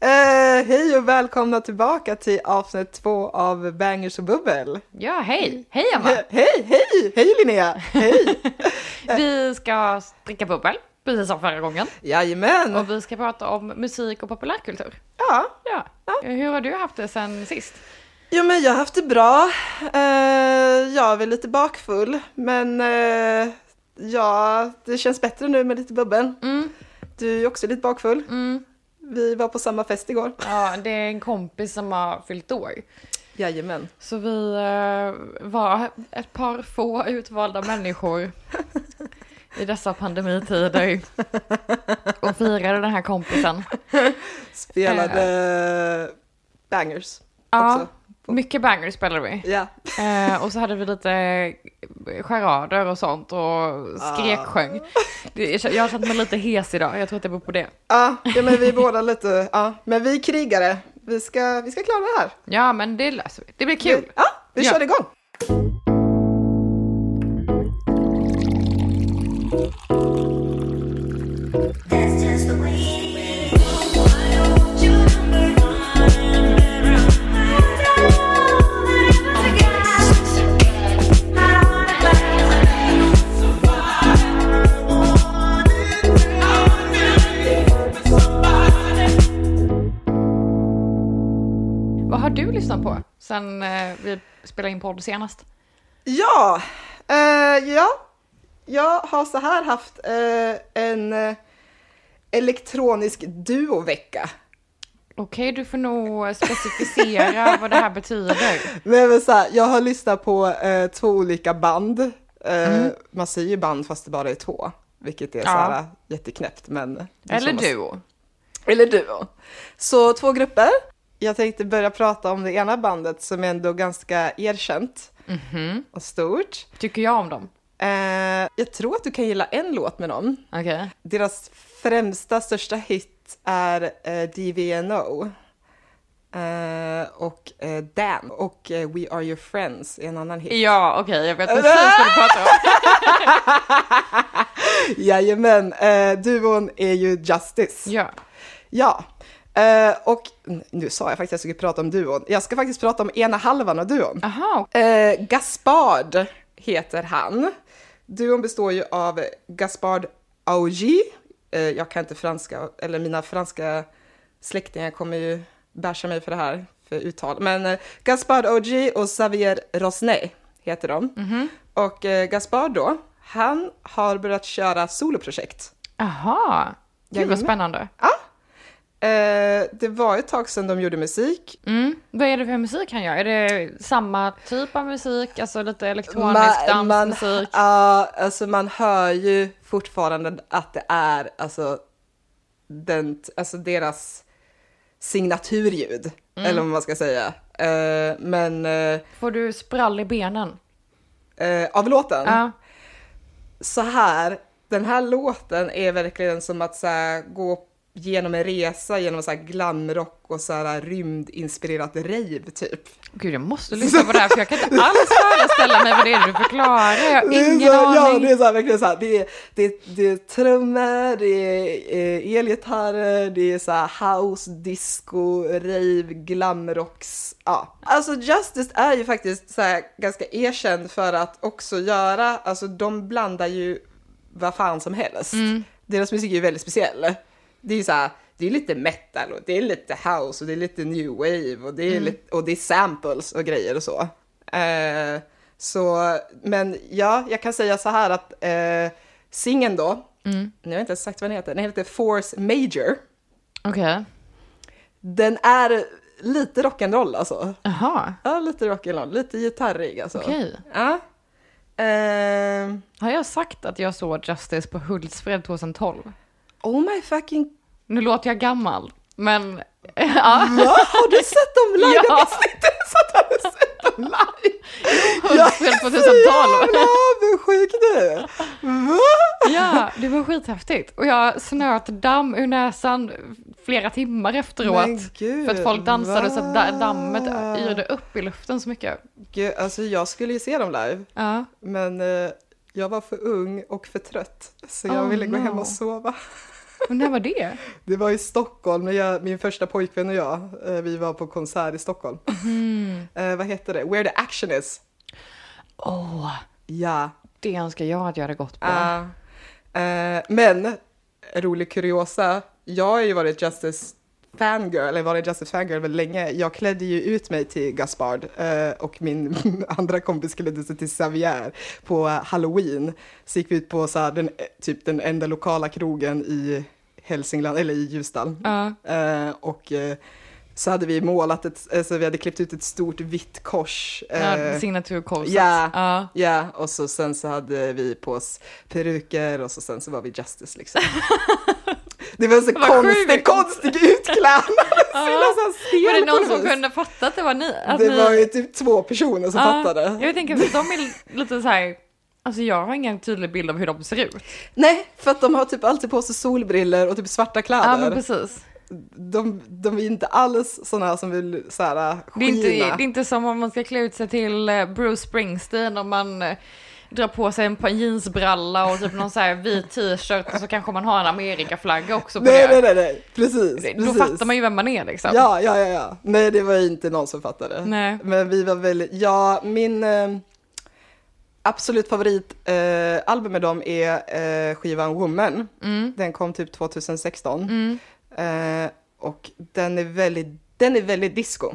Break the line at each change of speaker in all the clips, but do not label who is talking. Eh, hej och välkomna tillbaka till avsnitt två av Bangers och bubbel.
Ja, hej! Hej Emma!
He- Hej, hej, hej Linnea! Hej!
Vi ska dricka bubbel, precis som förra gången.
Jajamän!
Och vi ska prata om musik och populärkultur.
Ja,
Ja. Hur har du haft det sen sist?
jo men jag har haft det bra. Eh, jag är väl lite bakfull, men eh, ja, det känns bättre nu med lite bubbel.
Mm.
Du är ju också lite bakfull.
Mm.
Vi var på samma fest igår.
Ja, det är en kompis som har fyllt år.
Jajamän.
Så vi eh, var ett par få utvalda människor i dessa pandemitider och firade den här kompisen.
Spelade Eh. bangers
Ja,
också.
mycket bangers spelade vi.
Ja,
Eh, och så hade vi lite charader och sånt och skreksjöng. Det- Jag har känt mig lite hes idag, jag tror att det beror på det.
ja, ja men vi är båda lite, ja, men vi är krigare. Vi ska, vi ska klara det här.
Ja men det löser vi, det blir kul.
Ja, vi
Ja.
kör igång.
That's just the way it is. I don't want your number.
Vad har du lyssnat på sen eh, vi spelade in podd senast?
Ja, eh, ja, jag har så här haft eh, en eh, elektronisk duovecka.
Okej, du får nog specificera vad det här betyder.
Men väl så här, jag har lyssnat på eh, två olika band. Eh, Man säger ju band fast det bara är två, vilket är så här
Mm.
eh,
Ja.
jätteknäppt. Men det är så
Eller
man-
duo.
Eller duo. Så två grupper. Jag tänkte börja prata om det ena bandet som är ändå ganska erkänt
Mhm.
och stort.
Tycker jag om dem?
Eh, jag tror att du kan gilla en låt med dem.
Okej.
Deras främsta, största hit är eh, DVNO. Eh, och eh, Dan och eh, We Are Your Friends är en annan hit.
Ja, okej, jag vet precis vad du pratar om.
Jajamän, eh, duon är ju Justice.
Ja.
Ja, eh, och nu sa jag faktiskt att jag skulle prata om duon. Jag ska faktiskt prata om ena halvan av duon.
Aha,
Eh, Gaspard heter han. Duon består ju av Gaspard Augie. Eh, jag kan inte franska, eller mina franska släktingar kommer ju bärsa mig för det här, för uttal. Men eh, Gaspard Augie och Xavier Rosnay heter de. Och eh, Gaspard då, han har börjat köra soloprojekt.
aha. Gud
Jajamän.
vad spännande.
Eh, det var ett tag sedan de gjorde musik.
Mm. Vad är det för musik han gör? Är det samma typ av musik, alltså lite elektronisk
Man- man-
dansmusik?
Ja, alltså man hör ju fortfarande att det är alltså, den, alltså deras signaturljud, eller vad man ska säga. Eh, men eh,
Får du sprall i benen?
eh, av låten,
Ja.
så här, den här låten är verkligen som att så här, gå genom en resa genom så här glamrock och så här rymdinspirerat rave typ.
Gud, jag måste lyssna på det här för jag kan inte alls föreställa mig vad det är du förklarar. Jag har
Det är
ingen
så, Ja,
aning.
det är så här, verkligen så här. Det är, det, är- det är trummor, det är eh, elgitarrer, det är så här house, disco, rave, glamrocks. Ja. Alltså Justice är ju faktiskt så här ganska erkänd för att också göra, alltså de blandar ju vad fan som helst. Deras musik är ju väldigt speciell. Det är ju så här, det är lite metal och det är lite house och det är lite new wave och det är, lite, och det är samples och grejer och så. Eh, så, men ja, jag kan säga så här att eh, singeln då, nu har jag inte ens sagt vad den heter, den heter Force Major.
Okej,
Den är lite rock'n'roll alltså.
jaha.
Ja, lite rock'n'roll, lite gitarrig alltså.
Okej.
Ja. Eh,
Har jag sagt att jag såg Justice på Hultsfred 2012?
oh my fucking
Nu låter jag gammal, men ja,
Va? Har du sett dem live? Jag
Ja.
visste inte ens att jag hade sett dem live.
Hultsfred
Så
2012.
jävla avundsjuk nu. Va?
Ja, det var skithäftigt. Och jag snöt damm ur näsan flera timmar efteråt.
Men gud,
för att folk dansade så att da-
va?
dammet yrde upp i luften så mycket.
Gud, alltså jag skulle ju se dem live,
Ja.
men eh, jag var för ung och för trött. Så jag
Oh,
ville gå hem
no.
och sova.
Men när var det?
Det var i Stockholm när jag, min första pojkvän och jag, eh, vi var på konsert i Stockholm.
Mhm.
Eh, vad heter det? Where the action is.
Åh,
Ja.
det önskar jag att jag hade gått på.
Ah. Eh, men, rolig kuriosa, jag har ju varit Justice fangirl, eller varit Justice fangirl väldigt länge. Jag klädde ju ut mig till Gaspard eh, och min andra kompis klädde sig till Xavier på eh, halloween. Så gick vi ut på så här, den, typ den enda lokala krogen i Hälsingland, eller i Ljusdal.
Ja.
Eh, och eh, så hade vi målat ett, alltså vi hade klippt ut ett stort vitt kors. eh,
Ja, Signaturkorset.
ja.
Ja.
Ja, och så sen så hade vi på oss peruker och så sen så var vi Justice liksom. Det var en så
Vad
konstig,
sjukt.
konstig utklädnad.
Ja.
Silla så här sten
Var det någon
på något
som
vis.
kunde fatta att det var ni? Att
Det
ni...
var ju typ två personer som
Ja,
fattade.
Jag tänker för de är lite så här, alltså jag har ingen tydlig bild av hur de ser ut.
Nej, för att de har typ alltid på sig solbriller och typ svarta
Ja men
kläder.
precis.
de, de är inte alls sådana här som vill så här,
Det är, inte, det
skina.
är inte som om man ska klä ut sig till eh, Bruce Springsteen om man eh, drar på sig en par jeansbralla och typ någon så här vit t-shirt och så kanske man har en amerikaflagga också på
Nej,
det.
nej, nej, nej, precis.
Då
precis.
fattar man ju vem man är liksom.
Ja, ja, ja, ja. Nej, det var inte någon som fattade.
Nej.
Men vi var väldigt, ja, min eh, absolut favoritalbum eh, album med dem är eh, skivan Woman. Den kom typ 2016. Eh, och den är väldigt, den är väldigt disco.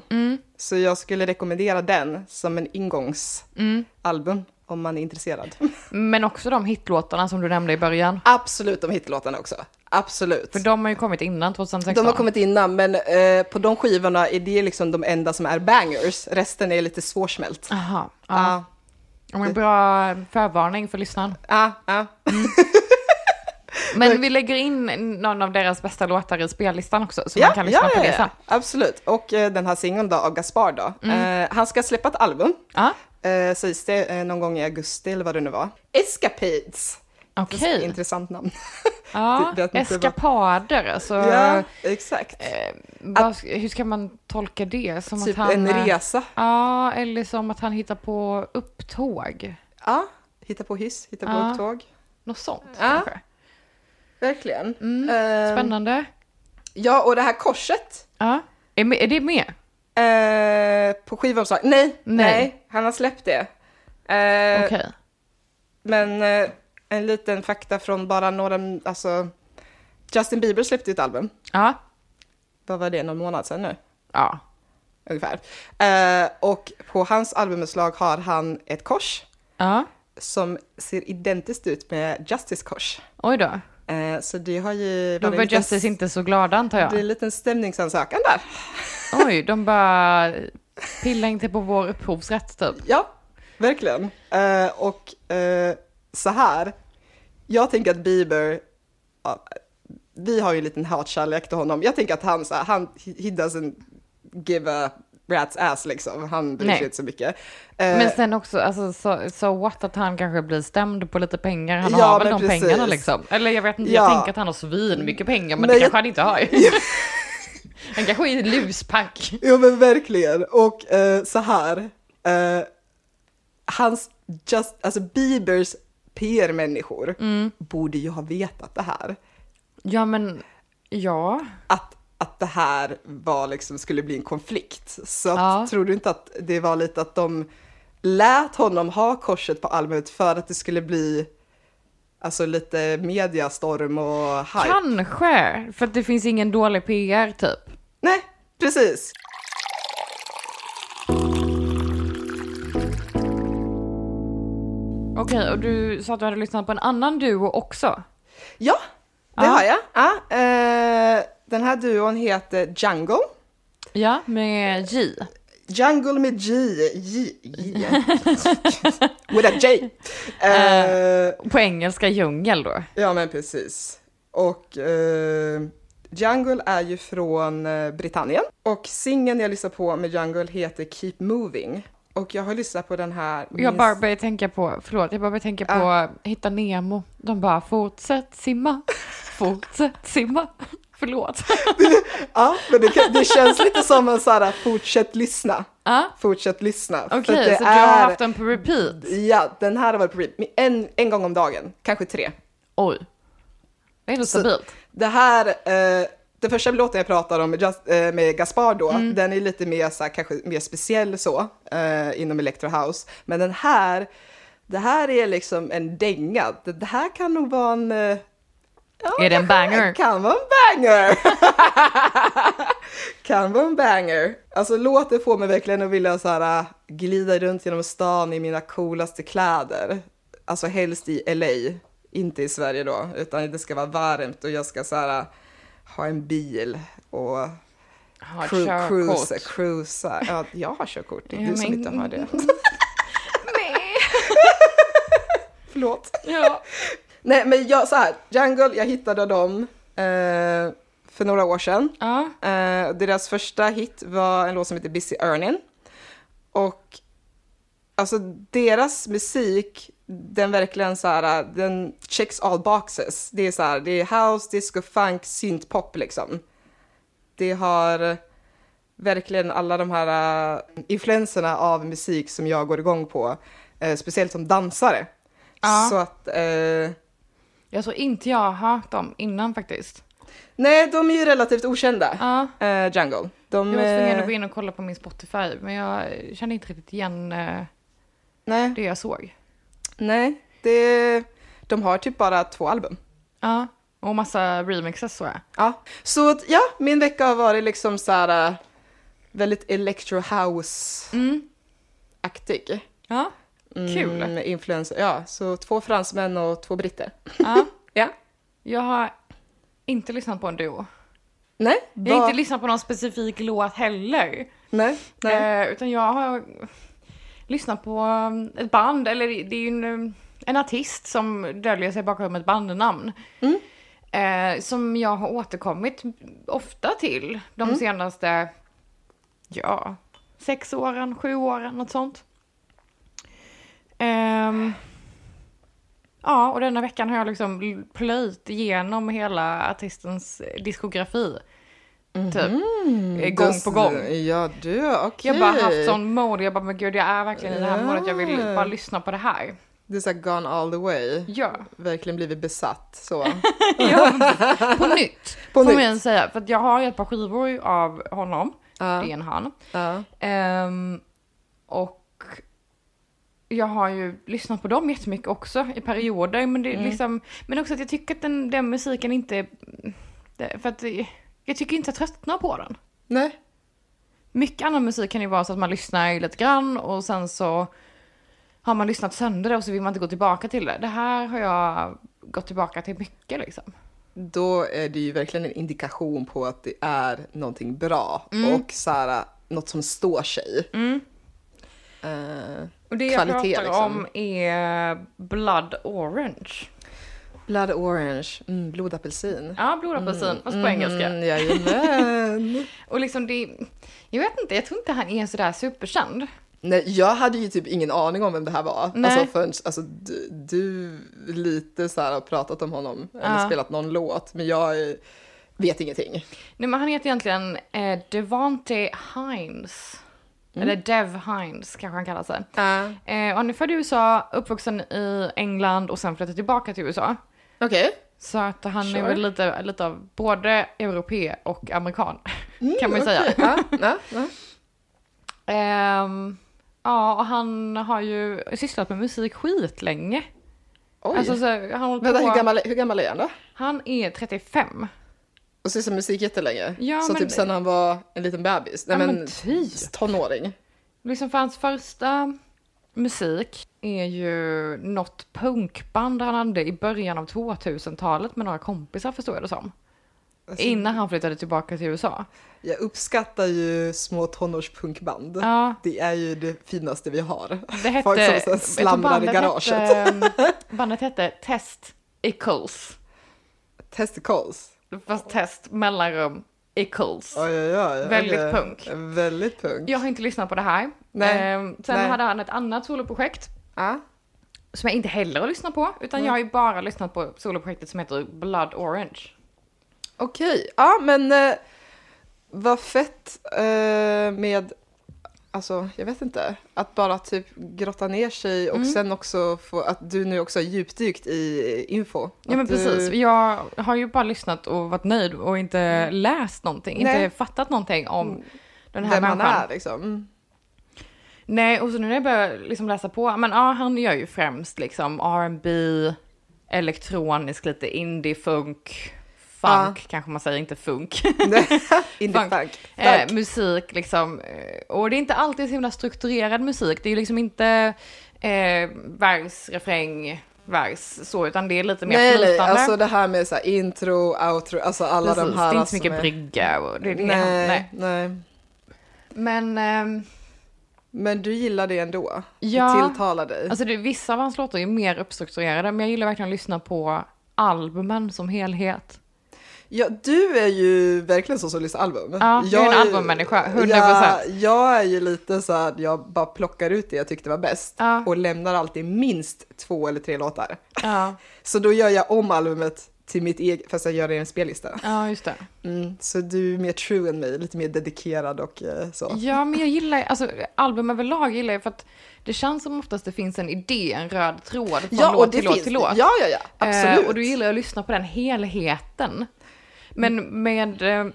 Så jag skulle rekommendera den som en ingångsalbum om man är intresserad.
Men också de hitlåtarna som du nämnde i början.
Absolut de hitlåtarna också. Absolut.
För de har ju kommit innan 2016.
De har kommit innan, men eh, på de skivorna är det liksom de enda som är bangers. Resten är lite svårsmält.
Aha, ja.
Ja,
Ja, men bra förvarning för lyssnaren.
ja, ja.
Men vi lägger in någon av deras bästa låtar i spellistan också, så
Ja,
man kan lyssna
ja,
på det
ja,
sen.
ja. Absolut. Och eh, den här singeln då av Gaspar då.
Mm.
Eh, han ska släppa ett album,
Ja,
eh, sägs det, eh, någon gång i augusti eller vad det nu var. Escapades.
okej.
Intressant namn.
Ja,
det- det-
eskapader, alltså.
ja, exakt.
eh, vad, hur ska man tolka det? Som
typ
att
en
han, eh,
resa.
Ja, eller som att han hittar på upptåg.
Ja, hitta på hyss, hitta på
Ja.
upptåg.
Något sånt
Ja.
kanske.
Verkligen. Eh,
Spännande.
ja, och det här korset.
Ja. Är, me- är det med?
Eh, på skivomslag? Nej, nej, han har släppt det. Eh,
Okej.
Men eh, en liten fakta från bara några, alltså Justin Bieber släppte ju ett album,
Ja.
vad var det, någon månad sedan nu?
Ja.
Ungefär. Eh, och på hans albumomslag har han ett kors
Ja.
som ser identiskt ut med Justice kors.
Oj då.
Eh, så det har ju...
Då
det
var
en liten-
Justice inte så glada antar
Det är en
jag.
liten stämningsansökan där.
Oj, de bara pillar inte på vår upphovsrätt typ.
Ja, verkligen. Eh, och eh, så här, jag tänker att Bieber, ja, vi har ju en liten hatkärlek till honom. Jag tänker att han, så här, han he doesn't give a rat's ass liksom. Han bryr sig
Nej.
inte så mycket. Eh,
Men sen också, alltså, so, so what att han kanske blir stämd på lite pengar. Han
Ja,
har väl
men
de
precis.
pengarna liksom. Eller jag vet inte,
Ja.
jag tänker att han har svin mycket pengar, men,
Men
det
jag-
kanske han inte har. han kanske är en luspack.
Ja men verkligen. Och eh, så här, eh, hans, just, alltså Biebers PR-människor
Mm.
borde ju ha vetat det här.
Ja, men ja.
att, att det här var liksom, skulle bli en konflikt. Så att,
Ja.
tror du inte att det var lite att de lät honom ha korset på albumet för att det skulle bli alltså, lite mediastorm och hype?
Kanske, för att det finns ingen dålig PR typ.
Nej, precis.
Okej, och du sa att du hade lyssnat på en annan duo också.
Ja, det
Ja.
har jag. Ja, eh, den här duon heter Jungle.
Ja, med J.
Jungle med G. J. J. With a J. Eh,
På engelska djungel då.
Ja, men precis. Och eh, Jungle är ju från eh, Britannien. Och singeln jag lyssnar på med Jungle heter Keep Moving. Och jag har lyssnat på den här...
Jag bara börjar tänka på, förlåt, jag bara börjar tänka på Hitta Nemo. De bara fortsätt simma, fortsätt simma. Förlåt.
Ja, men det, kan, det känns lite som en sån här fortsätt lyssna.
Ja,
Fortsätt lyssna. För
Okej,
att det
så du har haft den på repeat?
Ja, den här har varit på repeat. en, en gång om dagen, kanske tre.
Oj. Det är nog stabilt.
Det här, eh, den första låten jag pratar om med, Just, eh, med Gaspar då,
Mm.
den är lite mer så här, kanske mer speciell så, eh, inom Electro House. Men den här, det här är liksom en dänga. Det, det här kan nog vara en... eh, ja,
Är det en banger?
Kan vara en banger! kan vara en banger. Alltså låten får mig verkligen att vilja så här, äh, glida runt genom stan i mina coolaste kläder. Alltså helst i LA, inte i Sverige då, utan det ska vara varmt och jag ska så här, äh, ha en bil och
Ha ett
cru-
körkort.
cruisa, cruisa. Ja, jag har körkort, det är
Ja,
du som
men-
inte har det.
Nej.
Förlåt.
Ja.
Nej men jag, så här, Jungle, jag hittade dem eh, för några år sedan.
ja.
Eh, deras första hit var en låt som heter Busy Earning. Och alltså deras musik, den verkligen så här, eh, den checks all boxes. Det är så här, det är house, disco, funk, synthpop liksom. Det har verkligen alla de här eh, influenserna av musik som jag går igång på. eh, speciellt som dansare.
Ja.
Så att... eh,
Jag tror inte jag har hört dem innan faktiskt.
Nej, de är ju relativt okända,
Ja.
eh, Jungle. De,
Jag var tvungen
eh,
att gå in och kolla på min Spotify, men jag kände inte riktigt igen eh,
nej,
det jag såg.
nej det, de har typ bara två album.
Ja. Och massa remixes så jag.
Ja. Så att, ja, min vecka har varit liksom så här eh, väldigt electro house-aktig.
Mm. Ja. Kul.
Mm, influencer, ja. Så två fransmän och två britter.
ja.
Ja.
Jag har inte lyssnat på en duo.
Nej,
Jag har
vad-
inte lyssnat på någon specifik låt heller.
nej, nej.
Eh, utan jag har lyssnat på um, ett band, eller det är ju en, um, en artist som döljer sig bakom ett bandnamn.
Mm.
Eh, som jag har återkommit ofta till de
Mm.
senaste, ja, sex åren, sju åren, något sånt. Ehm, ja, och denna veckan har jag liksom plöjt igenom hela artistens diskografi.
Mhm.
Typ. Eh, Gång på gång.
Mm, Ja, du, okej.
Jag har bara haft sån mode, jag bara men gud jag är verkligen i det här
Ja.
modet, jag vill bara lyssna på det här.
Du är såhär gone all the way.
Ja,
Verkligen blivit besatt så.
på nytt.
På
får
nytt.
man säga, för att jag har ju ett par skivor av honom,
Ja.
det är en han.
Ja.
Ehm, och jag har ju lyssnat på dem jättemycket också i perioder, men det är
Mm.
liksom, men också att jag tycker att den, den musiken inte, det- för att det- jag tycker inte jag tröttnar på den.
Nej.
Mycket annan musik kan ju vara så att man lyssnar lite grann och sen så har man lyssnat sönder det och så vill man inte gå tillbaka till det. Det här har jag gått tillbaka till mycket liksom.
då är det ju verkligen en indikation på att det är någonting bra
Mm.
och så här, något som står sig. Eh,
Och det
Kvalitet,
jag pratar
liksom.
om är Blood Orange.
blood orange, mm, blodapelsin.
Ja, blodapelsin, fast på engelska.
Mm, jajamän.
Och liksom det, jag vet inte, jag tror inte han är sådär superkänd.
Nej, jag hade ju typ ingen aning om vem det här var.
Nej.
Alltså, förrän, alltså du, du lite så här har pratat om honom, eller
Ja.
spelat någon låt, men jag eh, vet ingenting.
Nej men han heter egentligen eh, Devante Hines.
Mm.
Eller Dev Hines kanske han kallar sig. Eh, och han är född i USA, uppvuxen i England och sen flyttade tillbaka till USA.
Okej.
Så att han
Sure.
är väl lite, lite av både europé och amerikan, kan
Mm,
man ju säga.
Ja, ja, ja.
Ehm, ja, och han har ju sysslat med musik skitlänge.
Oj.
Alltså, så, han, har hållit
Vänta,
på,
hur gammal, hur gammal är han då?
han är 35.
Och sysslat med musik jättelänge.
Ja,
så
men-
typ sen han var en liten bebis. Nej
Ja,
men,
men typ.
tonåring.
Liksom för hans första musik är ju något punkband han hade i början av 2000-talet med några kompisar förstår jag det som.
Alltså-
Innan han flyttade tillbaka till USA.
Jag uppskattar ju små tonårspunkband.
Ja.
Det är ju det finaste vi har.
Det hette,
Folk som sen
jag tror
slamrar i
bandet
garaget.
Hette, bandet hette Test Equals.
Testicles.
Fast test mellanrum Equals.
Oj, oj, oj.
Väldigt
Okej.
punk.
Väldigt punk.
Jag har inte lyssnat på det här.
Nej.
Ehm, sen
Nej.
hade han ett annat soloprojekt
Ja.
som jag inte heller har lyssnat på. Utan jag har ju bara lyssnat på soloprojektet som heter Blood Orange.
Okej, ja men eh, vad fett eh, med alltså jag vet inte, att bara typ grotta ner sig och
Mm.
sen också få, att du nu också har djupdykt i info.
Ja men
Att du-
precis, eh, jag har ju bara lyssnat och varit nöjd och inte läst någonting,
Mm. Nej.
inte fattat någonting om
Mm.
den här
vem man
människan.
är liksom. Mm.
Nej, och så nu när jag börjar liksom läsa på, men ja, han gör ju främst liksom R&B, elektronisk, lite indie, funk, funk kanske man säger, inte funk.
Indie
Funk.
funk.
Eh, musik liksom. Eh, Och det är inte alltid så himla strukturerad musik. Det är ju liksom inte eh, vers, refräng, vers så, utan det är lite mer
Nej, nej,
flytande.
alltså det här med så här intro, outro, alltså alla
Precis,
de här.
det är inte
alltså,
så mycket
med-
brygga och det är det.
Nej,
Nej.
nej.
Men ehm,
Men du gillar det ändå?
Ja.
Det tilltalar dig?
alltså det, vissa av hans låtar är ju mer uppstrukturerade, men jag gillar verkligen att lyssna på albumen som helhet.
Ja, du är ju verkligen så som lyssnar album.
Ja, jag är en albummänniska, 100%.
Ja, jag är ju lite så här, att jag bara plockar ut det jag tyckte var bäst
Ja.
och lämnar alltid minst två eller tre låtar.
Ja,
Så då gör jag om albumet till mitt eget, fast jag gör det i en spellista.
ja just det.
Mm, så du är mer true än mig, lite mer dedikerad och eh, så.
Ja, men jag gillar, alltså album överlag gillar jag för att det känns som oftast det finns en idé, en röd tråd från låt till låt till låt.
Ja, ja, ja, absolut.
Eh, och då gillar jag att lyssna på den helheten. Men med eh,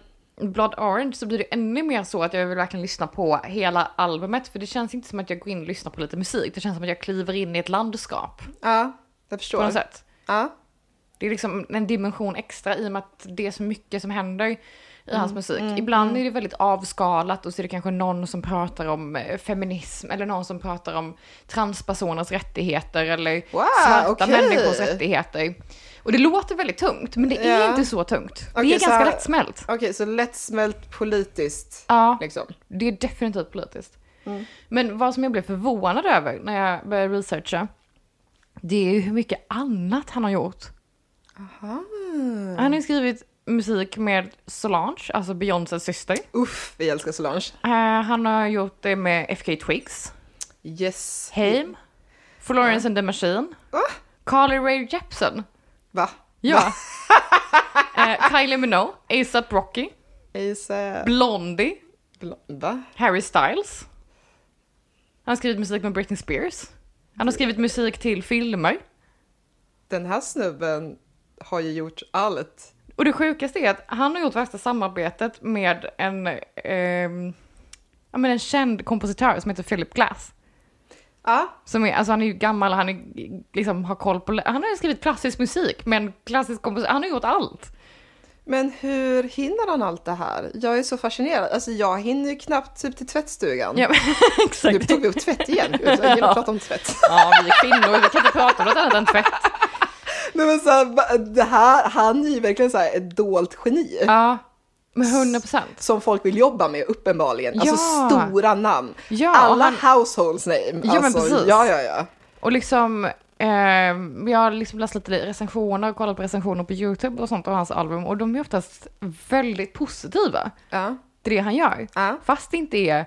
Blood Orange så blir det ännu mer så att jag vill verkligen lyssna på hela albumet. För det känns inte som att jag går in och lyssnar på lite musik. Det känns som att jag kliver in i ett landskap
Ja, jag
på något
förstår.
sätt.
Ja.
Det är liksom en dimension extra i och med att det är så mycket som händer i
Mm.
hans musik. Ibland är det väldigt avskalat och så är det kanske någon som pratar om eh, feminism eller någon som pratar om transpersoners rättigheter eller
Wow,
svarta
okej.
människors rättigheter. Och det låter väldigt tungt men det är
Ja.
inte så tungt.
Okej,
det är
så här-
ganska lättsmält.
Okej, så lättsmält politiskt.
Ja,
Liksom.
det är definitivt politiskt.
Mm.
Men vad som jag blev förvånad över när jag började researcha det är ju hur mycket annat han har gjort.
Aha.
Han har ju skrivit musik med Solange, alltså Beyoncés syster.
Uff, vi älskar Solange.
Eh, han har gjort det med FK Twigs,
Yes.
Haim, Florence and the Machine, Carly Rae Jepsen,
Va?
ja. eh, Kylie Minogue, ASAP Rocky,
Isa...
Blondie,
Va?
Harry Styles. Han har skrivit musik med Britney Spears. Han har skrivit musik till filmer.
Den här snubben har ju gjort allt.
Och det sjukaste är att han har gjort värsta samarbetet med en, ehm, ja, men en känd kompositör som heter Philip Glass.
Ja,
Som är, alltså han är ju gammal, han är, liksom, har koll på... Han har ju skrivit klassisk musik, men klassisk kompositör, han har gjort allt.
men hur hinner han allt det här? Jag är så fascinerad. Alltså jag hinner ju knappt typ till tvättstugan.
Ja, men,
Nu
exakt.
tog vi upp tvätt igen. Jag gillar att prata om tvätt.
Ja, vi är kvinnor, vi kan inte prata om något annat än tvätt.
Nej men så här, va- det här, han är ju verkligen så här ett dolt geni.
Ja, men 100 procent.
Som folk vill jobba med uppenbarligen. Alltså
Ja.
stora namn.
Ja,
Alla
han-
households name.
men
alltså,
precis.
Ja, ja, ja.
Och liksom, ehm, jag har liksom läst lite recensioner och kollat på recensioner på YouTube och sånt av hans album och de är oftast väldigt positiva
ja.
till det han gör.
Ja.
Fast det inte är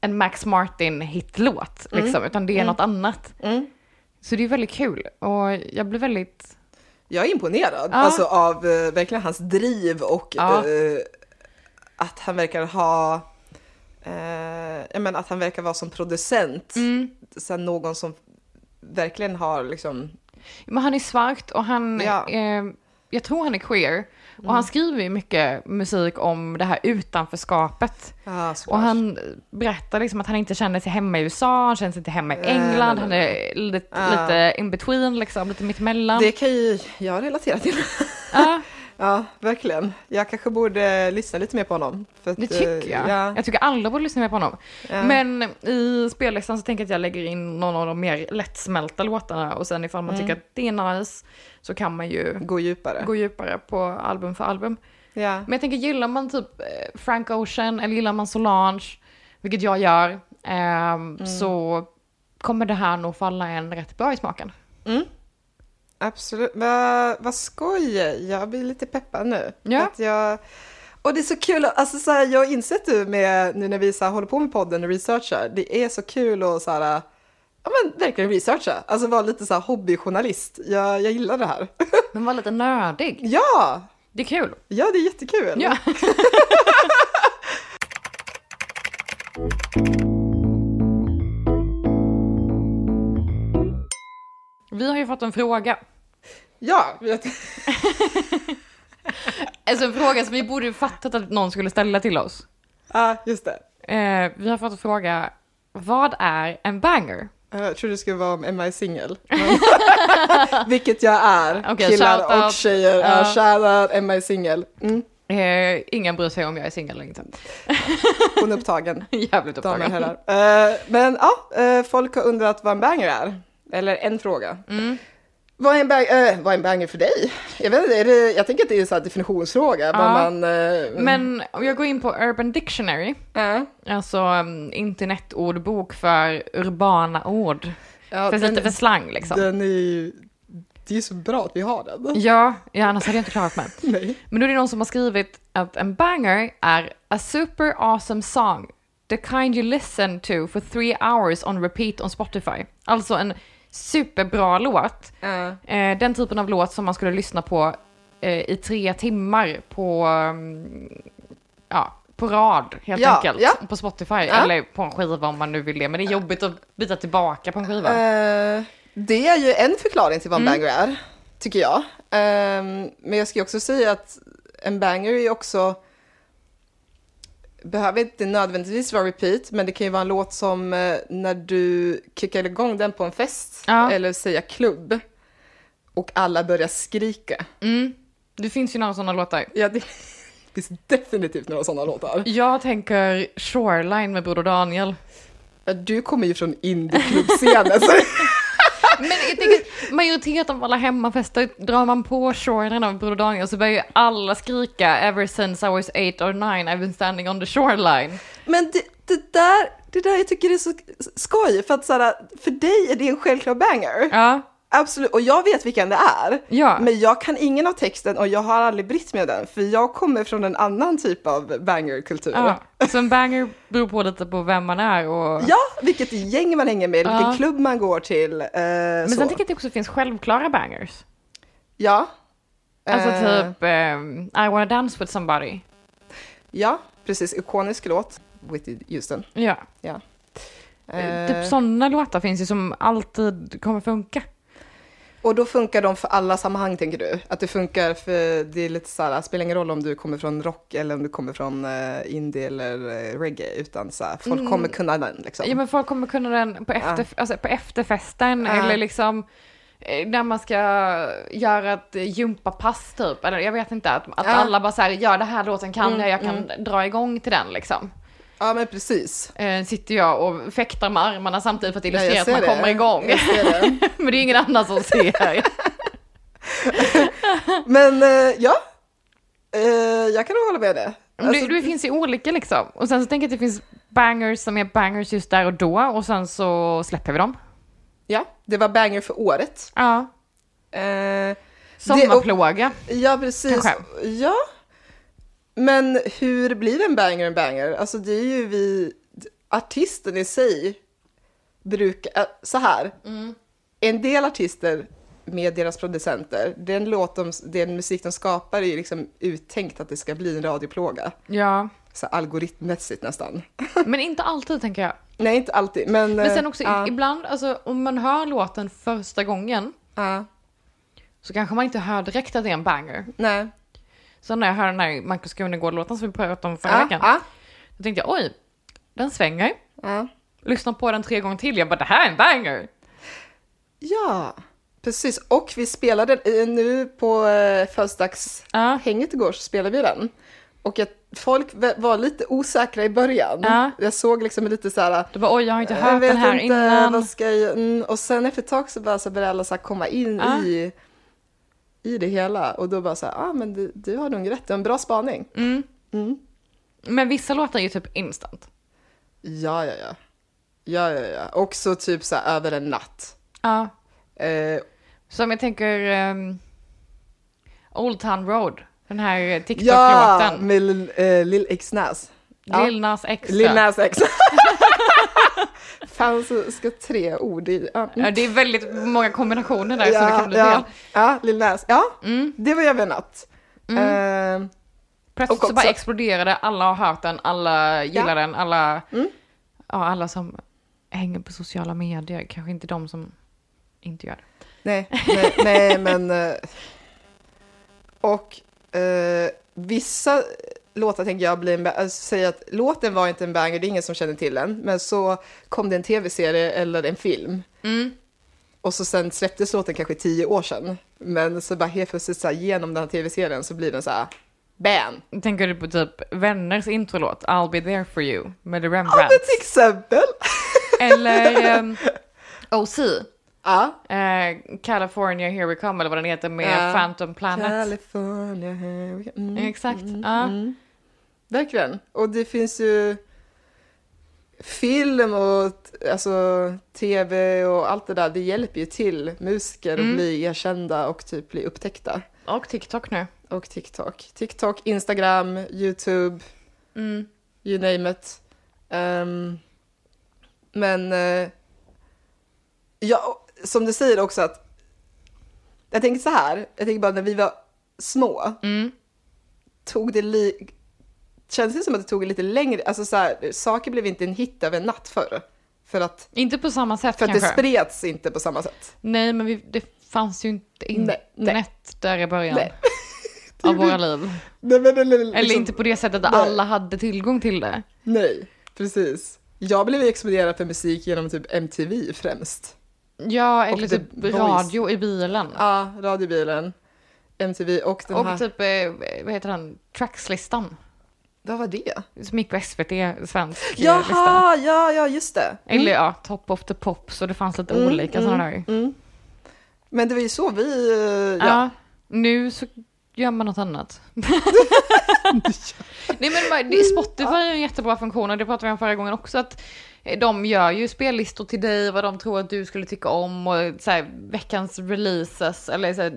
en Max Martin hitlåt, liksom, utan det är något annat.
Mm.
Så det är väldigt kul och jag blir väldigt
Jag är imponerad
Ja.
alltså, av eh, verkligen hans driv och
Ja.
eh, att han verkar ha eh, jag menar, att han verkar vara som producent.
Mm.
Sen någon som verkligen har liksom...
Men han är svart och han,
Ja. Mm.
eh, jag tror han är queer. Och han skriver ju mycket musik om det här utanförskapet.
Ja, såklart.
Och han berättar liksom att han inte känner sig hemma i USA, han känner sig inte hemma i
Nej,
England,
nej,
han
nej.
är lite,
Ja.
lite in between liksom, lite mittemellan.
Det kan ju jag relatera till.
Ja,
ja, verkligen. Jag kanske borde lyssna lite mer på honom. För att,
det
eh,
tycker jag.
Ja,
Jag tycker alla borde lyssna mer på honom.
ja.
Men i spellistan så tänker jag att jag lägger in någon av de mer lättsmälta låtarna och sen ifall man tycker att det är nice så kan man ju
Gå djupare.
gå djupare på album för album.
Ja.
Men jag tänker, gillar man typ eh, Frank Ocean eller gillar man Solange, vilket jag gör, ehm, så kommer det här nog falla en rätt bra i smaken.
Absolut. Va- Vad skoj! Jag blir lite peppad nu.
Ja.
Att jag... Och det är så kul, att- alltså så här, jag har insett nu, med, nu när vi så här, håller på med podden och researchar, det är så kul att så här, ja, men, verkligen researcha, alltså vara lite så här, hobbyjournalist. Jag, jag gillar det här.
Men var lite nördig.
ja!
Det är kul.
Ja, det är jättekul.
Ja. Vi har ju fått en fråga.
Ja, vet-
Alltså en fråga som vi borde fattat att någon skulle ställa till oss.
ja just det.
Eh, vi har fått en fråga. Vad är en banger?
Eh, Jag trodde det skulle vara om Am I single? Vilket jag är.
Okej,
Killar
shoutout.
och tjejer.
Ja.
Ja. Shoutout, Am I single? Mm.
Eh, ingen bryr sig om jag är singel eller inte.
Hon är upptagen.
Jävligt
Damer och
upptagen.
herrar. Eh, men ja, eh, folk har undrat vad en banger är. Eller en fråga.
Mm.
Vad, är en bang, eh, vad är en banger för dig? Jag, vet, inte, är det, jag tänker att det är en sån här definitionsfråga. Vad
Ja.
man, eh,
Men om jag går in på Urban Dictionary,
Ja.
alltså um, internetordbok för urbana ord.
Ja,
Fast
den-
lite för slang liksom.
Den är ju, det är ju så bra att vi har den.
Ja, ja, annars hade jag inte klarat mig.
Nej.
Men då är det någon som har skrivit att en banger är a super awesome song. The kind you listen to for three hours on repeat on Spotify. Alltså en superbra låt. Eh, den typen av låt som man skulle lyssna på eh, i tre timmar på, mm, ja, på rad helt
Ja,
enkelt.
ja.
På Spotify
Ja.
eller på en skiva om man nu vill det. Men det är jobbigt att byta tillbaka på en skiva.
Eh, det är ju en förklaring till vad en
Mm.
banger är, tycker jag. Ehm, men jag ska ju också säga att en banger är ju också, behöver inte nödvändigtvis vara repeat, men det kan ju vara en låt som eh, när du kickar igång den på en fest,
Ja.
eller säga klubb, och alla börjar skrika.
Mm. Det finns ju några sådana låtar.
Ja, det finns definitivt några sådana låtar.
Jag tänker Shoreline med Broder Daniel.
Ja, Du kommer ju från indieklubbscenen, så
Men jag tänker, majoriteten av alla hemmafester drar man på shoreline av Broder Daniel så börjar ju alla skrika ever since I was eight or nine I've been standing on the shoreline.
Men det, det, där, det där jag tycker är så skoj, för att så här, för dig är det en självklar banger.
Ja,
Absolut, och jag vet vilken det är.
ja.
Men jag kan ingen av texten och jag har aldrig brytt mig om den, för jag kommer från en annan typ av bangerkultur.
ja. Så en banger beror på lite på vem man är och...
Ja, vilket gäng man hänger med, vilken
Ja.
klubb man går till. Eh,
Men
så.
sen tycker jag att det också finns självklara bangers.
Ja.
Alltså
Eh,
typ ehm, I wanna dance with somebody.
Ja, precis. Ikonisk låt. Whitney Houston.
Ja.
Ja. Eh,
Typ sådana låtar finns ju som alltid kommer funka.
Och då funkar de för alla sammanhang tänker du? Att det funkar för det är lite så här, spelar ingen roll om du kommer från rock eller om du kommer från eh, indie eller eh, reggae, utan så här, folk
Mm.
kommer kunna den liksom.
Ja men folk kommer kunna den på, efter, alltså, på efterfesten
Ja.
eller liksom eh, när man ska göra ett gympapass typ. Eller jag vet inte, att, att
Ja.
alla bara så här, gör det här låten kan
Mm,
jag, jag kan dra igång till den liksom.
Ja, men precis.
Eh, sitter jag och fäktar med armarna samtidigt för att
Ja,
illustrera
jag
att man
ser det.
kommer igång.
Jag ser det.
men det är ingen annan som ser.
Alltså- Men eh, ja, Eh, jag kan nog hålla med Alltså, det.
Men det, det finns ju olika liksom. Och sen så tänker jag att det finns bangers som är bangers just där och då och sen så släpper vi dem.
ja, det var banger för året.
Ja.
Eh,
Sommarplåga.
Ja, precis.
Kanske.
Ja. Men hur blir en banger en banger? Alltså det är ju vi, artisten i sig brukar, äh, så här.
Mm.
En del artister med deras producenter, den, låt de, den musik de skapar är ju liksom uttänkt att det ska bli en radioplåga.
Ja.
Så algoritmmässigt nästan.
Men inte alltid tänker jag.
Nej, inte alltid, men...
Men
eh,
sen också i-
ja,
ibland, alltså, om man hör låten första gången
ja,
så kanske man inte hör direkt att det är en banger.
nej.
Så när jag hör den här Markus Krunegård-låten som vi pratade om förra
Ja,
veckan,
ja,
då tänkte jag oj, den svänger.
ja.
Lyssna på den tre gånger till, jag bara det här är en banger.
Ja, precis. Och vi spelade eh, nu på eh,
Ja.
födelsedagshänget igår så spelade vi den. Och jag, folk v- var lite osäkra i början.
Ja.
Jag såg liksom lite så här.
Du bara oj, jag har inte
Jag
hört
vet
den här
inte,
innan.
vad ska jag mm, Och sen efter ett tag så bara så började alla så här komma in
Ja.
i, i det hela. Och då bara så här, ah, men du, du har nog rätt, det var en bra spaning.
Mm.
Mm.
Men vissa låtar är ju typ instant.
Ja, ja, ja. Ja, ja, ja. Också typ så här över en natt.
Ja.
Eh,
Så om jag tänker ehm, Old Town Road, den här eh,
ja,
TikTok-låten.
med Lil- eh, Lil X-Nas. ja.
Lil Nas X.
Lil Nas X. Fan så ska tre ord i. Ja,
Ja, det är väldigt många kombinationer där så det kan bli
ja,
fel.
ja, Lil Nas. Ja,
Mm.
det var jag natt.
Mm.
Eh,
Plötsligt
Och
så bara
också-
exploderade, alla har hört den, alla gillar
Ja.
den, alla,
Mm.
ja, alla som hänger på sociala medier, kanske inte de som inte gör det.
Nej, nej, nej men... eh, Och eh, vissa låtar tänker jag bli en ba- alltså, säga att låten var inte en banger, det är ingen som känner till den, men så kom det en tv-serie eller en film. Mm. Och så sen släpptes låten kanske tio år sedan, men så bara helt plötsligt så här, genom den här tv-serien så blir den så här, bam!
Tänker du på typ Vänners introlåt I'll be there for you med The
Ja, men
Rembrandts?
till exempel!
Eller um, OC,
Ja.
eh, California Here We Come eller vad den heter med
Ja.
Phantom Planet.
California, here we go. Mm.
Exakt. ja.
Verkligen. Och det finns ju film och t- alltså, tv och allt det där. Det hjälper ju till musiker
Mm.
att bli erkända och typ bli upptäckta.
Och TikTok nu.
Och TikTok. TikTok, Instagram, YouTube, Mm. you name it. Ehm, men eh, ja, och som du säger också att jag tänker så här, jag tänker bara när vi var små, tog det li- känns det som att det tog lite längre, alltså så här, saker blev inte en hit över en natt förr. För att,
Inte på samma sätt
för att det
kanske.
spreds inte på samma sätt.
Nej, men vi, det fanns ju inte internet
Nej, nej.
där i början
Nej.
av våra liv.
Nej, men, eller,
Eller
liksom-
inte på det sättet att
nej.
alla hade tillgång till det.
Nej, precis. Jag blev exponerad för musik genom typ MTV främst.
Ja, eller
The
typ
Voice.
radio i bilen.
Ja, radiobilen, MTV och den här...
Och typ, eh, vad heter den, Trackslistan.
Vad var det?
Som gick på SVT, svensk eh, lista.
Jaha, Mm. ja, ja, just det.
Eller ja, Top of the Pops och det fanns
Mm,
lite olika sådana där.
Men det var ju så vi... eh,
Ja.
Ja.
Nu så gör man något annat. Nej men bara- det- Spotify har ju en jättebra funktion och det pratade vi om förra gången också att eh, de gör ju spellistor till dig, vad de tror att du skulle tycka om och så här, veckans releases eller så här,
Ja,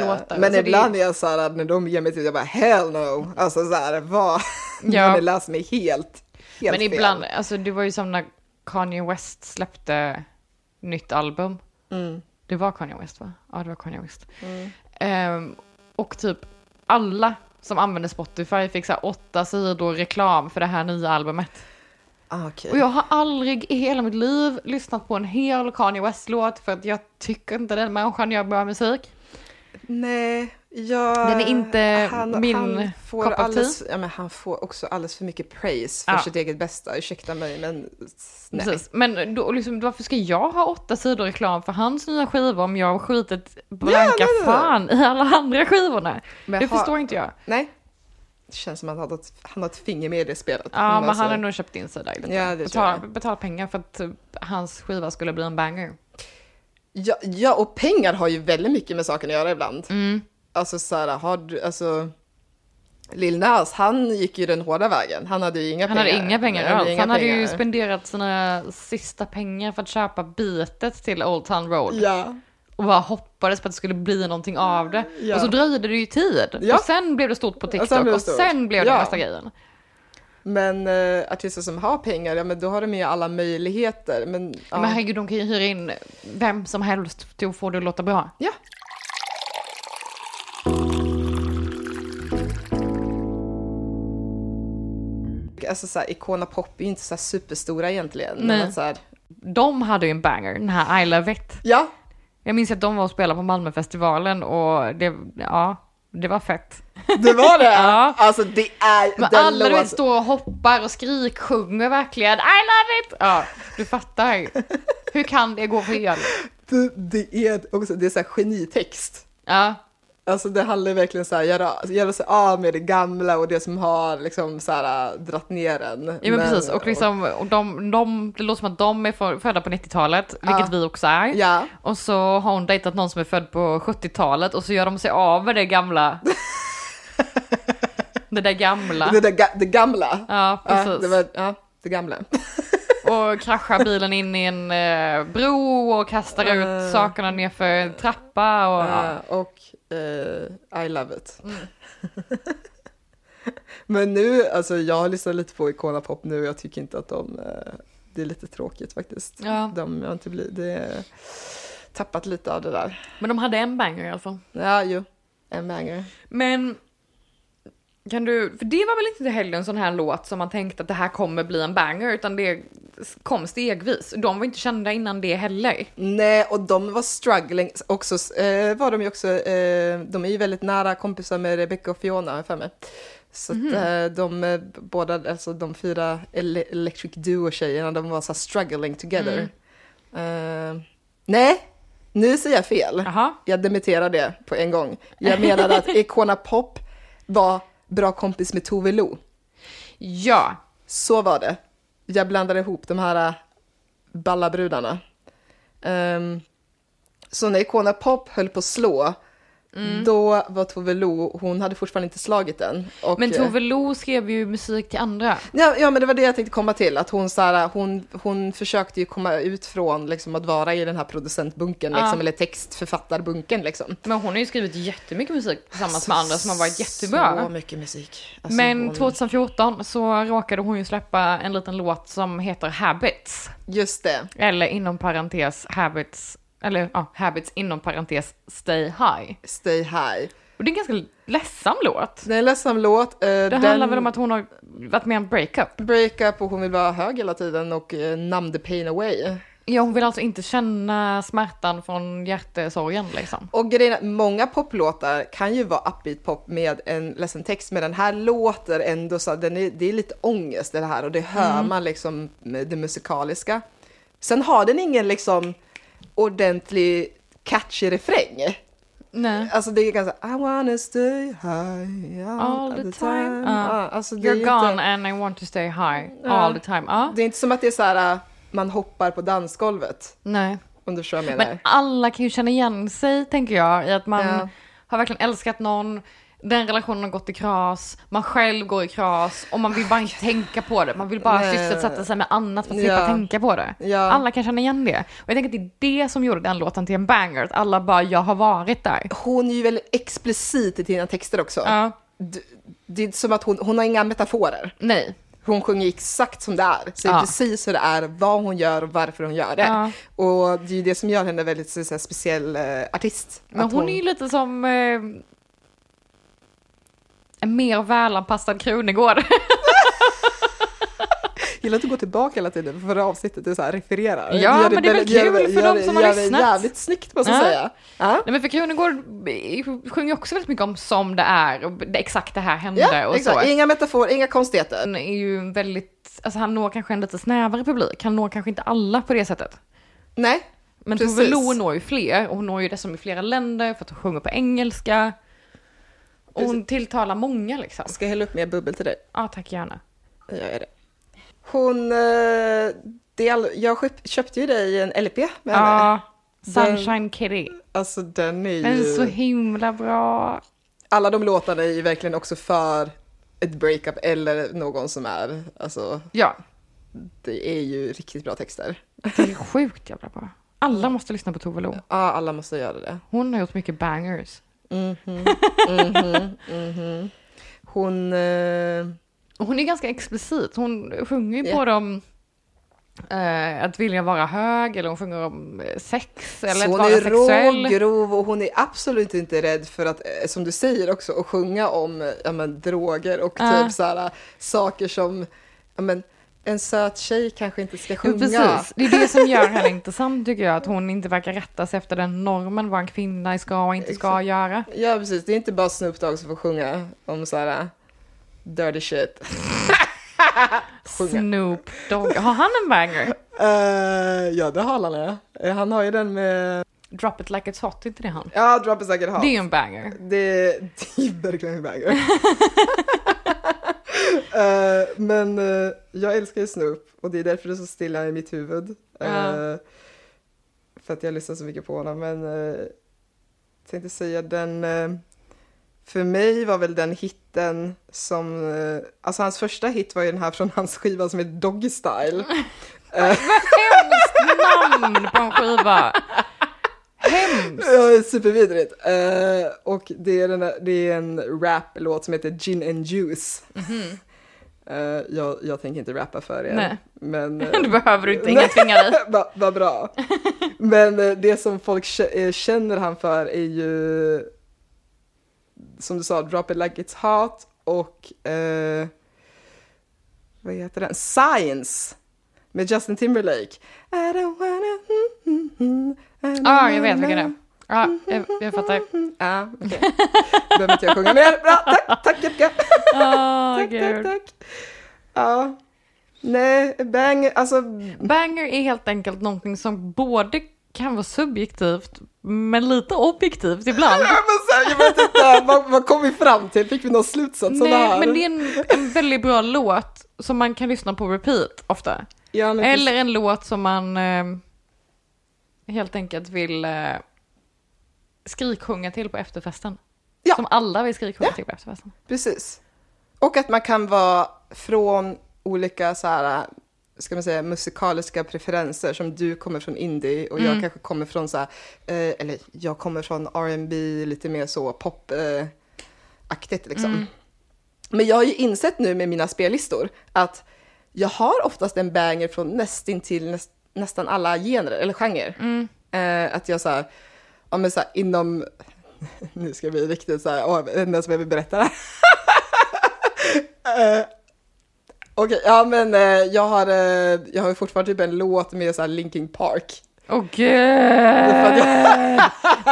ja,
låtar.
ja. Men
så
ibland
det,
är jag så här, när de ger mig till jag bara hell no. Alltså så här, vad?
Ja.
Ja. Det läser mig helt, helt
men
fel.
ibland, alltså det var ju som när Kanye West släppte nytt album.
Mm.
Det var Kanye West va? Ja det var Kanye West. Ehm, och typ alla som använde Spotify fick så här åtta sidor reklam för det här nya albumet.
Ah, okej.
Och jag har aldrig i hela mitt liv lyssnat på en hel Kanye West-låt för att jag tycker inte den människan gör bra musik.
Nej, jag...
Den är inte
han,
min
han får
kopp av te.
alldeles, ja, men Han får också alldeles för mycket praise för
Ja.
sitt eget bästa. Ursäkta mig, men s- nej.
Precis. Men då, liksom, varför ska jag ha åtta sidor reklam för hans nya skiva om jag har skitit blanka
nej, nej.
fan i alla andra skivorna?
Men
det
har-
förstår inte jag.
Nej. Det känns som att han har ett, han har ett finger med i det spelet.
Ja, men han har nog köpt in sig där lite.
Ja, det tror
betala,
jag.
betala pengar för att eh, hans skiva skulle bli en banger.
ja, ja, och pengar har ju väldigt mycket med saken att göra ibland.
Mm.
Alltså så här, har du, alltså... Lil Nas, han gick ju den hårda vägen. Han hade ju inga
Han
pengar.
hade inga pengar
hade
alls.
inga
han hade ju
pengar.
spenderat sina sista pengar för att köpa betet till Old Town Road.
Ja.
och bara hoppades på att det skulle bli någonting av det.
Ja.
Och så dröjde det ju tid.
Ja.
Och sen blev det stort på TikTok och
sen blev
sen
det
blev,
stort.
det
Ja.
nästa grejen.
Men eh, artister som har pengar, ja men då har de ju alla möjligheter. Men, ja.
Men herregud, de kan ju hyra in vem som helst till att få det att låta bra.
ja. Alltså såhär, Icona Pop är ju inte såhär superstora egentligen.
Nej.
Men så här,
De hade ju en banger, den här I Love It.
ja,
Jag minns att de var och spelade på Malmöfestivalen och det, ja, det var fett.
det var det!
Ja.
Alltså det är
Men
den
alla du vet
låten.
står och hoppar och skriksjunger verkligen I love it! Ja, du fattar. Hur kan det gå fel?
Det, det är också, det är såhär genitext.
Ja,
Alltså det handlar ju verkligen såhär, göra, göra sig av med det gamla och det som har liksom såhär dratt ner en.
Ja men, precis, och liksom, och de, de, det låter som att de är för- födda på 90-talet, vilket vi också är.
Ja.
Och så har hon dejtat någon som är född på 70-talet och så gör de sig av med det gamla. det där gamla.
Det, där, ga- det gamla.
Ja,
Ja,
precis.
det, var, ja, det gamla.
Och kraschar bilen in i en eh, bro och kastar ut sakerna nerför en trappa. Och, ja. Mm.
Eh, och eh, I love it. Men nu, alltså jag har lyssnat lite på Icona Pop nu och jag tycker inte att de, eh, det är lite tråkigt faktiskt.
Ja.
De har inte blivit, det är tappat lite av det där.
Men de hade en banger i alla fall.
Ja, jo, en banger.
Men kan du, för det var väl inte heller en sån här låt som man tänkte att det här kommer bli en banger utan det kom stegvis. De var inte kända innan det heller.
Nej, och de var struggling också. Eh, var de ju också, eh, de är ju väldigt nära kompisar med Rebecca och Fiona, har jag för mig. Så att, eh, de eh, båda, alltså de fyra ele- Electric Duo-tjejerna, de var så här struggling together. Eh, nej, nu säger jag fel.
Jaha.
Jag demitterar det på en gång. Jag menade att Icona Pop var bra kompis med Tove Lo.
Ja.
Så var det. Jag blandade ihop de här äh, balla brudarna. Ehm, så när Icona Pop höll på att slå,
Mm.
då var Tove Lo, hon hade fortfarande inte slagit den. Och, eh,
Men Tove Lo skrev ju musik till andra.
Ja, ja, men det var det jag tänkte komma till, att hon, så här, äh, hon, hon försökte ju komma ut från liksom, att vara i den här producentbunken, liksom, eller textförfattarbunken. Liksom.
Men hon har ju skrivit jättemycket musik tillsammans med andra som har varit jättebra.
Så mycket musik. Alltså,
Men
hon-
2014 så råkade hon ju släppa en liten låt som heter Habits.
Just det.
Eller inom parentes Habits, eller ja, Habits inom parentes Stay High.
Stay high.
Och det är en ganska ledsam låt.
Det är en ledsam låt. eh,
Det handlar väl om att hon har varit med i en breakup.
breakup och hon vill vara hög hela tiden och eh, numb the pain away.
Ja, hon vill alltså inte känna smärtan från hjärtesorgen liksom.
Och grejen är att många poplåtar kan ju vara upbeat pop med en ledsen text, men den här låter ändå så här, den är, det är lite ångest det här och det hör
Mm.
man liksom med det musikaliska. Sen har den ingen liksom ordentlig catchy refräng.
Nej.
Alltså det är ganska I wanna stay high all,
All the time.
Ja,
Ja.
alltså det är
You're
ju
gone
Inte,
and I want to stay high
Ja.
all the time. Ja.
det är inte som att det är så här, äh, man hoppar på dansgolvet,
Nej.
om du förstår vad jag menar.
Men alla kan ju känna igen sig, tänker jag, i att man
Ja.
har verkligen älskat någon, den relationen har gått i kras, man själv går i kras och man vill bara inte tänka på det. Man vill bara
Ah, Nej.
sysselsätta sig med annat för att
Ja.
slippa tänka på det.
Ja.
Alla kan känna igen det. Och jag tänker att det är det som gjorde den låten till en banger, att alla bara, jag har varit där.
hon är ju väldigt explicit i sina texter också.
Ja.
D- Det är som att hon, hon har inga metaforer.
Nej.
Hon sjunger exakt som det är, säger
Ja.
precis hur det är, vad hon gör och varför hon gör det.
Ja.
Och det är ju det som gör henne väldigt så, så här, speciell eh, artist.
Men
Att
hon är ju lite som eh, en mer välanpassad Krunegård.
gillar att du går tillbaka hela tiden för förra avsnittet du så här refererar.
Ja,
Du gör
men det är väl
väldigt- gör
kul
det-
för
gör
de
det-
som har
gör det
lyssnat.
jävligt snyggt måste jag
Ja.
säga. Ja.
Nej men för Krunegård eh, sjunger också väldigt mycket om som det är och det, exakt det här hände
Ja,
och så.
exakt. Inga metaforer, inga konstigheter.
Han är ju en väldigt, alltså han når kanske en lite snävare publik, han når kanske inte alla på det sättet.
Nej,
Men
Precis.
Tove Lo når ju fler och hon når ju dessutom i flera länder för att hon sjunger på engelska. Och hon tilltalar många liksom.
jag ska hälla upp mer bubbel till dig.
Ja tack gärna.
Jag gör det. Hon... eh, Del, jag köp- köpte ju dig en LP med henne.
Ja,
Den-
Sunshine Kitty.
eh, Alltså den är ju...
Den är så himla bra.
Alla de låtarna är ju verkligen också för ett breakup eller någon som är... Alltså,
Ja,
det är ju riktigt bra texter.
det är sjukt jävla bra. Alla måste lyssna på Tove Lo.
Ja, alla måste göra det. Mhm.
Hon har gjort mycket bangers.
Hon... eh,
Och Hon är ganska explicit. Hon sjunger ju
Ja.
både om eh, att vilja vara hög eller hon sjunger om eh, sex eller
så
att
hon
vara
är
sexuell.
rå, grov och hon är absolut inte rädd för att, eh, som du säger också, att sjunga om eh, ja, men, droger och
Ja.
typ så här, saker som... Ja, men, en söt tjej kanske inte ska
Jo,
sjunga.
precis. Det är det som gör henne intressant tycker jag, att hon inte verkar rätta sig efter den normen vad en kvinna ska och inte ska
Exakt.
göra.
Ja, precis. Det är inte bara Snoop Dogg som får sjunga om så här eh, dirty shit. Sjunga.
Snoop Dogg, har han en banger?
ja, det har han. ja. Eh, Han har ju den med...
Drop it like it's hot, inte det han?
Ja, Drop is like it hot.
Det är ju en banger.
Det, det är verkligen en banger. Eh, men eh, jag älskar ju Snoop och det är därför det är så stilla i mitt huvud. Eh,
Ja.
För att jag lyssnar så mycket på honom. Men uh, tänkte säga den, eh, för mig var väl den hitten som, eh, alltså hans första hit var ju den här från hans skiva som heter Doggy Style.
Hemskt namn på en skiva! Hemskt!
Ja, supervidrigt. Eh, och det är, den där, det är en rap-låt som heter Gin and Juice. Eh, jag, jag tänker inte rappa för er.
Mhm. Nej.
Men, eh,
Det behöver du inte, ingen tvingar dig.
Va- Vad bra. Men eh, det som folk k- eh, känner han för är ju, som du sa, Drop It Like It's Hot och, eh, vad heter den, Science. med Justin Timberlake. I don't wanna... Mm, mm, mm, I don't
Ja, Ah, jag vet
wanna-
vilken det är. Ja, jag, jag fattar.
Ja, okej. Behöver inte jag sjunga mer. Bra, tack, tack Jessica.
Åh,
tack, tack,
gud.
tack. Ja. Nej, bang, alltså.
Banger är helt enkelt någonting som både kan vara subjektivt, men lite objektivt ibland.
Ja, men så här, Jag vet inte, vad, vad kom vi fram till? Fick vi någon slutsats av det här?
Nej, men det är en, en väldigt bra låt som man kan lyssna på repeat ofta.
Ja, men
Eller en låt som man eh, helt enkelt vill eh, skriksjunga till på efterfesten.
Ja.
Som alla vill skriksjunga
Ja.
till på efterfesten.
Precis. Och att man kan vara från olika så här, ska man säga, musikaliska preferenser som du kommer från indie och jag kanske kommer från så här, eh, eller jag kommer från R&B lite mer så pop eh, aktigt liksom. Men jag har ju insett nu med mina spellistor att jag har oftast en banger från nästintill näst, nästan alla gener eller genrer. Eh, att jag så här, ja men så här, inom, nu ska vi riktigt så här, åh, den som jag vill berätta det här. Eh, Okej, ja men eh, jag har, eh, jag har ju fortfarande typ en låt med så här Linkin Park.
Åh gud!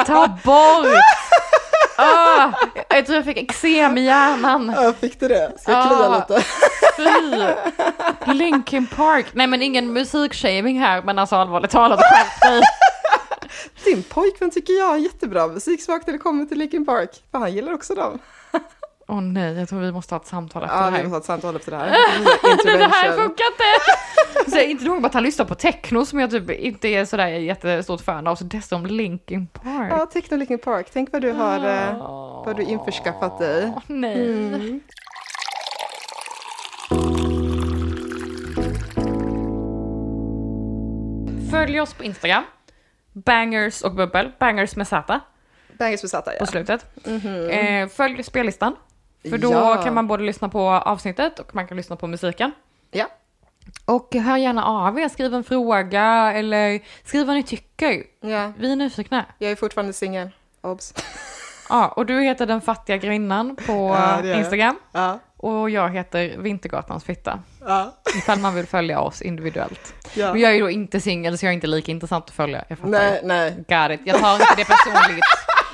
Ta bort! Ah, jag tror jag fick eksem i hjärnan.
Ja, fick du det? Ska jag klia
Ah.
lite?
Fy! Linkin Park. Nej men ingen musikshaming här, men alltså allvarligt talat, skärp dig.
Din pojkvän tycker jag har jättebra musiksmak när det kommer till Linkin Park. För han gillar också dem.
Åh nej, jag tror vi måste ha ett samtal efter
Ja,
det
vi
här.
måste ha ett samtal efter det här. Intervention.
Det här funkar inte! Så jag är inte nog med att han lyssnar på techno som jag typ inte är sådär jättestort fan av, så dessutom Linkin Park.
Ja, Techno Linkin Park. Tänk vad du har, eh,
Ah.
vad du införskaffat dig. Mm.
Åh, nej. Följ oss på Instagram. Bangers och bubbel. Bangers med Z
Bangers besatta,
på
ja. Mhm. Mm.
slutet. Eh, följ spellistan. För då
Ja.
kan man både lyssna på avsnittet och man kan lyssna på musiken.
ja.
Och hör gärna av er, skriv en fråga eller skriv vad ni tycker.
Ja,
Vi är nyfikna.
jag är fortfarande singel. Obs.
Ja, och du heter Den fattiga grinnan på
Ja, det gör jag.
Instagram.
Ja,
Och jag heter Vintergatans fitta.
ja,
Ifall man vill följa oss individuellt.
ja.
Men jag är ju då inte singel så jag är inte lika intressant att följa. Jag fattar.
Nej, nej.
Got it. Jag tar inte det personligt.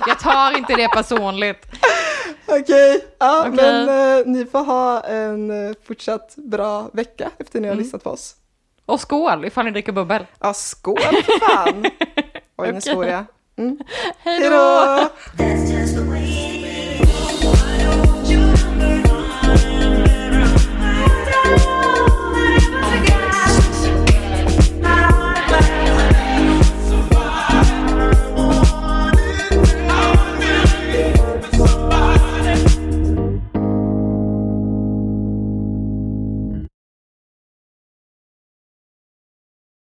Jag tar inte det personligt.
Okej, ja,
Okej.
men eh, ni får ha en eh, fortsatt bra vecka efter ni
Mm.
har lyssnat på oss.
Och skål ifall ni dricker bubbel.
Ja, skål för fan! Oj, nu
Okej.
svor jag. Mm.
Hej
Hej
då!
då!
That's just the way